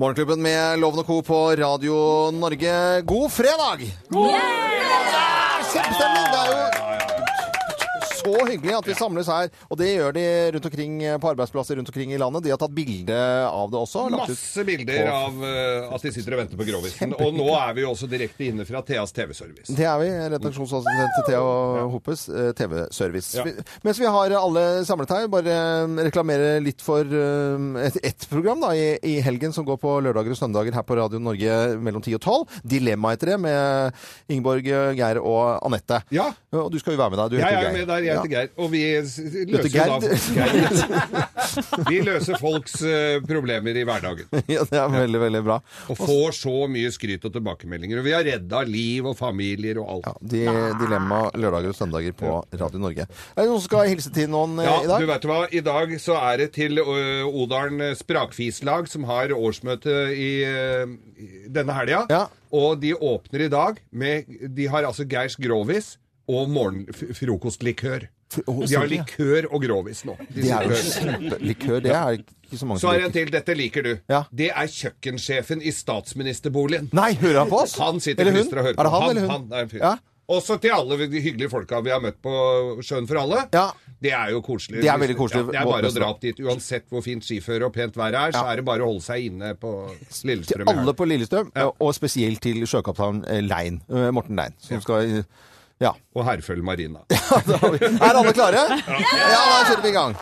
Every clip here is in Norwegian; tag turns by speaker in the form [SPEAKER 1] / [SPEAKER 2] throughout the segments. [SPEAKER 1] Morgenklubben med Loven og Co. på Radio Norge. God fredag! Ja, Kjempestemning! Det er jo så hyggelig at vi samles her. Og det gjør de rundt omkring på arbeidsplasser rundt omkring i landet. De har tatt bilde av det også. og lagt ut
[SPEAKER 2] Masse bilder
[SPEAKER 1] på-
[SPEAKER 2] av eh, at de sitter og venter på grovisen. Og nå er vi jo også direkte inne fra Theas TV-service.
[SPEAKER 1] Det er vi. Redaksjonsassistent til Thea Hoppes, eh, TV-service.
[SPEAKER 2] Ja.
[SPEAKER 1] Vi- Mens vi har alle samlet her, bare eh, reklamere litt for eh, et, ett program da, i, i helgen som går på lørdager og søndager her på Radio Norge mellom 10 og 12. Dilemma heter det, med Ingeborg, eh, Geir og Anette.
[SPEAKER 2] Ja.
[SPEAKER 1] Og du skal jo være med der. Du
[SPEAKER 2] Jeg
[SPEAKER 1] heter
[SPEAKER 2] er
[SPEAKER 1] Geir.
[SPEAKER 2] med der, jeg heter
[SPEAKER 1] Ja.
[SPEAKER 2] Geir. Og vi s-
[SPEAKER 1] Heter
[SPEAKER 2] løser jo da
[SPEAKER 1] Gerd.
[SPEAKER 2] Geir. Vi løser folks eh, problemer i hverdagen.
[SPEAKER 1] Ja, det er veldig, veldig bra.
[SPEAKER 2] Og får så mye skryt og tilbakemeldinger. Og vi har redda liv og familier og alt.
[SPEAKER 1] Ja, de, dilemma lørdager og søndager på Radio Norge. Er det noen som skal hilse til noen eh,
[SPEAKER 2] Ja,
[SPEAKER 1] i dag?
[SPEAKER 2] du vet hva. I dag så er det til ø, Odalen eh, Sprakfislag, som har årsmøte i, ø, i denne helga.
[SPEAKER 1] Ja.
[SPEAKER 2] Og de åpner i dag med De har altså Geirs Grovis og morgen- f-
[SPEAKER 1] Å,
[SPEAKER 2] frokostlikør. De har
[SPEAKER 1] selvfølgelig.
[SPEAKER 2] likør og grovis nå. De
[SPEAKER 1] oh, Det er jo
[SPEAKER 2] likør.
[SPEAKER 1] kjempelikør. Det er ikke så mange
[SPEAKER 2] Så
[SPEAKER 1] som
[SPEAKER 2] er det en
[SPEAKER 1] liker.
[SPEAKER 2] til. Dette liker du.
[SPEAKER 1] Ja.
[SPEAKER 2] Det er kjøkkensjefen i statsministerboligen.
[SPEAKER 1] Nei, hører han på oss?
[SPEAKER 2] Han sitter
[SPEAKER 1] Eller hun?
[SPEAKER 2] knister og hører på.
[SPEAKER 1] Er det han, eller hun?
[SPEAKER 2] Han, er en fyr.
[SPEAKER 1] Ja.
[SPEAKER 2] Også til alle de hyggelige folka vi har møtt på Sjøen for alle.
[SPEAKER 1] Ja.
[SPEAKER 2] Det er jo koselig.
[SPEAKER 1] Det er veldig koselig.
[SPEAKER 2] Ja, det er bare å
[SPEAKER 1] Båtmester.
[SPEAKER 2] dra opp dit. Uansett hvor fint skiføre og pent været er, så
[SPEAKER 1] Ja.
[SPEAKER 2] er det bare å holde seg inne på
[SPEAKER 1] Til
[SPEAKER 2] Lillestrøm. i
[SPEAKER 1] alle
[SPEAKER 2] helgen.
[SPEAKER 1] på Lillestrøm, og spesielt til sjøkaptein eh, Lein, eh, Morten Lein, som skal Ja.
[SPEAKER 2] Og Herføl Marina.
[SPEAKER 1] Da har vi- Er alle klare? Ja, da setter vi i gang.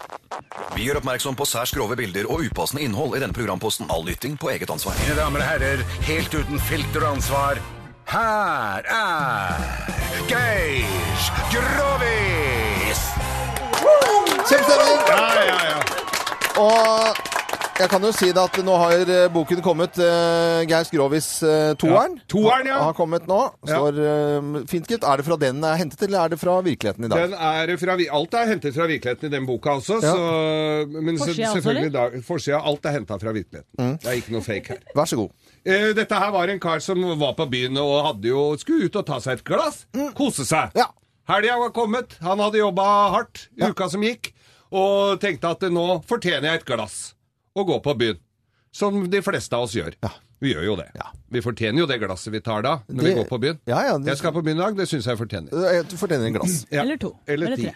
[SPEAKER 3] Vi gjør oppmerksom på særs grove bilder og upassende innhold i denne programposten. All lytting på eget ansvar.
[SPEAKER 4] Mine damer og herrer, helt uten filter og ansvar, her er Geir Grovis!
[SPEAKER 1] Kjempestemning!
[SPEAKER 2] Ja, ja, ja.
[SPEAKER 1] Og jeg kan jo si det at nå har eh, boken kommet. eh, Geir Skrovis eh, toeren.
[SPEAKER 2] Ja. Toeren, ja.
[SPEAKER 1] Har- Har kommet nå. Står eh, fint, gitt. Er det fra den den er hentet, eller er det fra virkeligheten i dag?
[SPEAKER 2] Den er fra, vi- alt er hentet fra virkeligheten i den boka også.
[SPEAKER 1] Ja.
[SPEAKER 2] Så, men
[SPEAKER 5] Forsida
[SPEAKER 2] forsida,
[SPEAKER 5] også,
[SPEAKER 2] selvfølgelig da, forsida. Alt er henta fra virkeligheten.
[SPEAKER 1] Mm.
[SPEAKER 2] Det er ikke noe fake her.
[SPEAKER 1] Vær så god.
[SPEAKER 2] Eh, Dette her var en kar som var på byen og hadde jo, skulle ut og ta seg et glass. Kose seg.
[SPEAKER 1] Mm. Ja.
[SPEAKER 2] Helga var kommet. Han hadde jobba hardt uka som gikk, og tenkte at nå fortjener jeg et glass og gå på byen. Som de fleste av oss gjør.
[SPEAKER 1] Ja.
[SPEAKER 2] Vi gjør jo det.
[SPEAKER 1] Ja.
[SPEAKER 2] Vi fortjener jo det glasset vi tar da, når vi
[SPEAKER 1] Det-
[SPEAKER 2] går på byen.
[SPEAKER 1] Ja, ja, det-
[SPEAKER 2] Jeg skal på byen i dag, det syns jeg fortjener.
[SPEAKER 1] Eh, Jeg fortjener en glass.
[SPEAKER 2] Ja.
[SPEAKER 5] Eller to.
[SPEAKER 2] Eller
[SPEAKER 5] Eller
[SPEAKER 2] ti.
[SPEAKER 5] tre.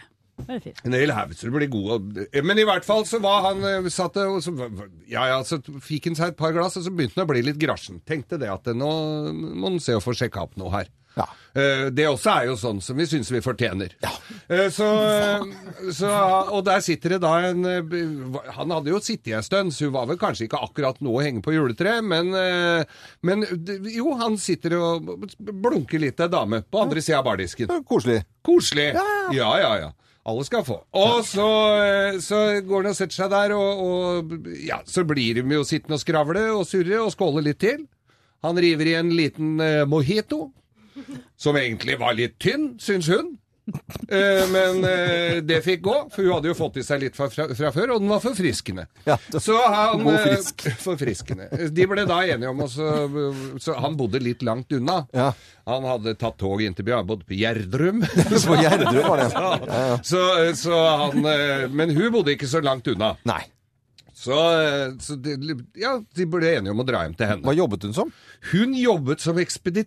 [SPEAKER 5] Eller fire.
[SPEAKER 1] Eh,
[SPEAKER 2] En hel haug så det blir god og- Men i hvert fall så var han eh, satt og så, Ja ja, så fikk han seg et par glass, og så begynte han å bli litt grasjen. Tenkte det at eh, nå må han se å få sjekka opp noe her.
[SPEAKER 1] Ja.
[SPEAKER 2] Eh, Det også er jo sånn som vi syns vi fortjener. Eh, Så, så, og der sitter det da en eh, b- Han hadde jo sittet en stund, så hun var vel kanskje ikke akkurat nå å henge på juletreet, men, eh, men d- jo, han sitter og blunker litt til ei dame på andre sida av bardisken.
[SPEAKER 1] Eh, Koselig.
[SPEAKER 2] Koselig. Ja, ja, ja. Alle skal få. Og så, eh, så går han og setter seg der, og, og ja, så blir de jo sittende og skravle og surre og skåle litt til. Han river i en liten eh, mojito, som egentlig var litt tynn, syns hun. Eh, men eh, det fikk gå, for hun hadde jo fått i seg litt fra, fra, fra før, og den var forfriskende.
[SPEAKER 1] Ja,
[SPEAKER 2] så han,
[SPEAKER 1] god
[SPEAKER 2] eh,
[SPEAKER 1] frisk.
[SPEAKER 2] Forfriskende. De ble da enige om å så- Så han bodde litt langt unna.
[SPEAKER 1] Ja.
[SPEAKER 2] Han hadde tatt toget inn til byen, han bodde på Gjerdrum.
[SPEAKER 1] På Gjerdrum var det.
[SPEAKER 2] Så, så han, eh, men hun bodde ikke så langt unna.
[SPEAKER 1] Nei.
[SPEAKER 2] Så, eh, så de, ja, de ble enige om å dra hjem til
[SPEAKER 1] Hva
[SPEAKER 2] henne.
[SPEAKER 1] jobbet hun som?
[SPEAKER 2] Hun jobbet som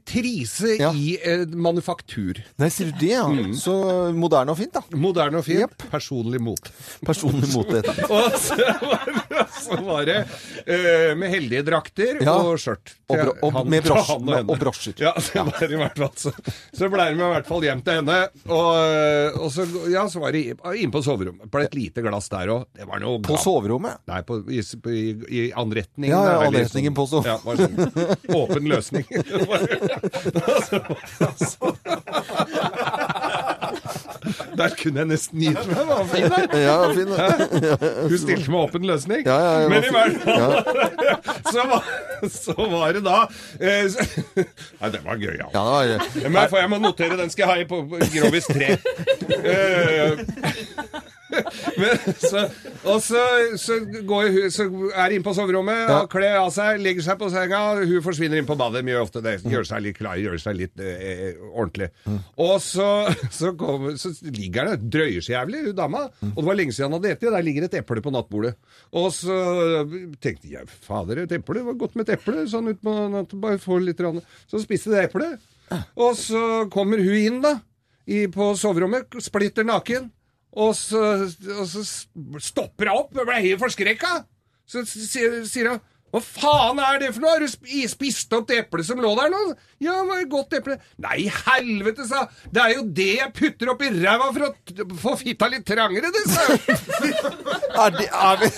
[SPEAKER 2] ekspeditrise
[SPEAKER 1] Ja.
[SPEAKER 2] i eh, manufaktur.
[SPEAKER 1] Nei, sier du det? Ja.
[SPEAKER 2] Mm.
[SPEAKER 1] Så moderne og fint, da.
[SPEAKER 2] Moderne og fint. Personlig mot.
[SPEAKER 1] Personlig mot dette.
[SPEAKER 2] Og så var det, så var det eh, med heldige drakter
[SPEAKER 1] Ja.
[SPEAKER 2] og skjørt.
[SPEAKER 1] Og bro- og med
[SPEAKER 2] til
[SPEAKER 1] brosj-
[SPEAKER 2] han og henne.
[SPEAKER 1] og brosjer.
[SPEAKER 2] Ja, så, var det i hvert fall, så, så ble det med i hvert fall hjem til henne. Og, eh, og så, ja, så var det inne på soverommet. Ble et lite glass der òg. Det var noe
[SPEAKER 1] På
[SPEAKER 2] gammelt.
[SPEAKER 1] soverommet.
[SPEAKER 2] Nei, på, i, på, i, i anretningen.
[SPEAKER 1] Ja, ja,
[SPEAKER 2] er veldig
[SPEAKER 1] anretningen
[SPEAKER 2] sånn-
[SPEAKER 1] på så-
[SPEAKER 2] Ja, var sånn, åpen løsning. Der kunne jeg nesten gitt meg. det var fint.
[SPEAKER 1] Ja, fin.
[SPEAKER 2] Hun stilte med åpen løsning.
[SPEAKER 1] Ja, ja, ja,
[SPEAKER 2] Men i
[SPEAKER 1] det
[SPEAKER 2] hvert fall så, var, så var det da eh, så, Nei, den var gøy, ja.
[SPEAKER 1] Ja, det var
[SPEAKER 2] Men jeg, får- jeg må notere, den skal jeg ha i på på Grovis 3. Eh, Men, så, og så, så, går, hun- så er hun inne på soverommet,
[SPEAKER 1] Ja.
[SPEAKER 2] og kler av seg, legger seg på senga, og hun forsvinner inn på badet. Mye ofte det. Gjør seg litt klar, gjør seg litt eh, eh, ordentlig. Og så, så, kommer, så ligger hun og drøyer seg jævlig, hun dama. Og det var lenge siden han hadde spist. Der ligger et eple på nattbordet. Og så tenkte jeg fader, et eple det var godt med et eple. Sånn ut på natten, bare få litt rann. Så spiste jeg det eplet. Og så kommer hun inn, da. I, på soverommet, splitter naken. Og så, og så stopper hun opp, jeg ble helt forskrekka. Så s- sier sier hun Hva faen er det for noe? Har du sp- i- spist opp det eplet som lå der nå? Ja, det var et godt eple. Nei, helvete, sa hun. Det er jo det jeg putter oppi ræva for å t- få fitta litt trangere, det, sa hun.
[SPEAKER 1] Er det, er vi...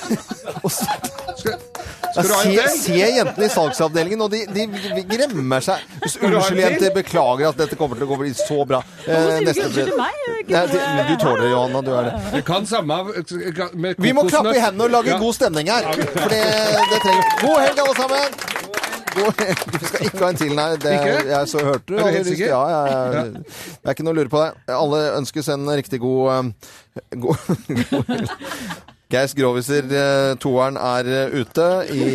[SPEAKER 1] Og så- Jeg
[SPEAKER 2] du ha en
[SPEAKER 1] ser,
[SPEAKER 2] til?
[SPEAKER 1] ser jentene i salgsavdelingen, og de, de gremmer seg.
[SPEAKER 2] du ha en
[SPEAKER 1] Unnskyld, jenter.
[SPEAKER 2] til?
[SPEAKER 1] Beklager at dette kommer til å gå bli så bra. Eh,
[SPEAKER 5] Hvorfor sier du ikke
[SPEAKER 1] neste-
[SPEAKER 5] unnskyld til meg? Jeg
[SPEAKER 1] Nei,
[SPEAKER 5] kunne-
[SPEAKER 1] du tåler det, Johanna. Du er det.
[SPEAKER 2] Det kan samme av- med
[SPEAKER 1] Vi må
[SPEAKER 2] kokosnøtt.
[SPEAKER 1] klappe i hendene og lage
[SPEAKER 2] Ja.
[SPEAKER 1] god stemning her. For det, det trenger vi. God helg, alle sammen! God helg. Du skal ikke ha en til, nei. Det,
[SPEAKER 2] Ikke?
[SPEAKER 1] jeg så hørte du.
[SPEAKER 2] Er du
[SPEAKER 1] hadde
[SPEAKER 2] helt
[SPEAKER 1] lyst-
[SPEAKER 2] sikker?
[SPEAKER 1] Ja, ja, ja. Det er ikke noe å lure på der. Alle ønskes en riktig god eh, God, god helg. Geirs Groviser, eh, toeren er eh, ute i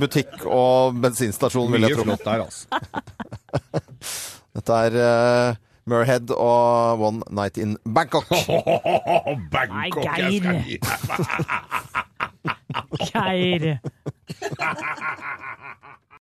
[SPEAKER 1] butikk og bensinstasjon, vil
[SPEAKER 2] Mye
[SPEAKER 1] jeg tro.
[SPEAKER 2] flott der, altså.
[SPEAKER 1] Dette er eh, Murhead og One Night in Bangkok.
[SPEAKER 2] Åh, Bangkok, jeg skal
[SPEAKER 5] Nei,
[SPEAKER 2] gi deg.
[SPEAKER 5] Geir.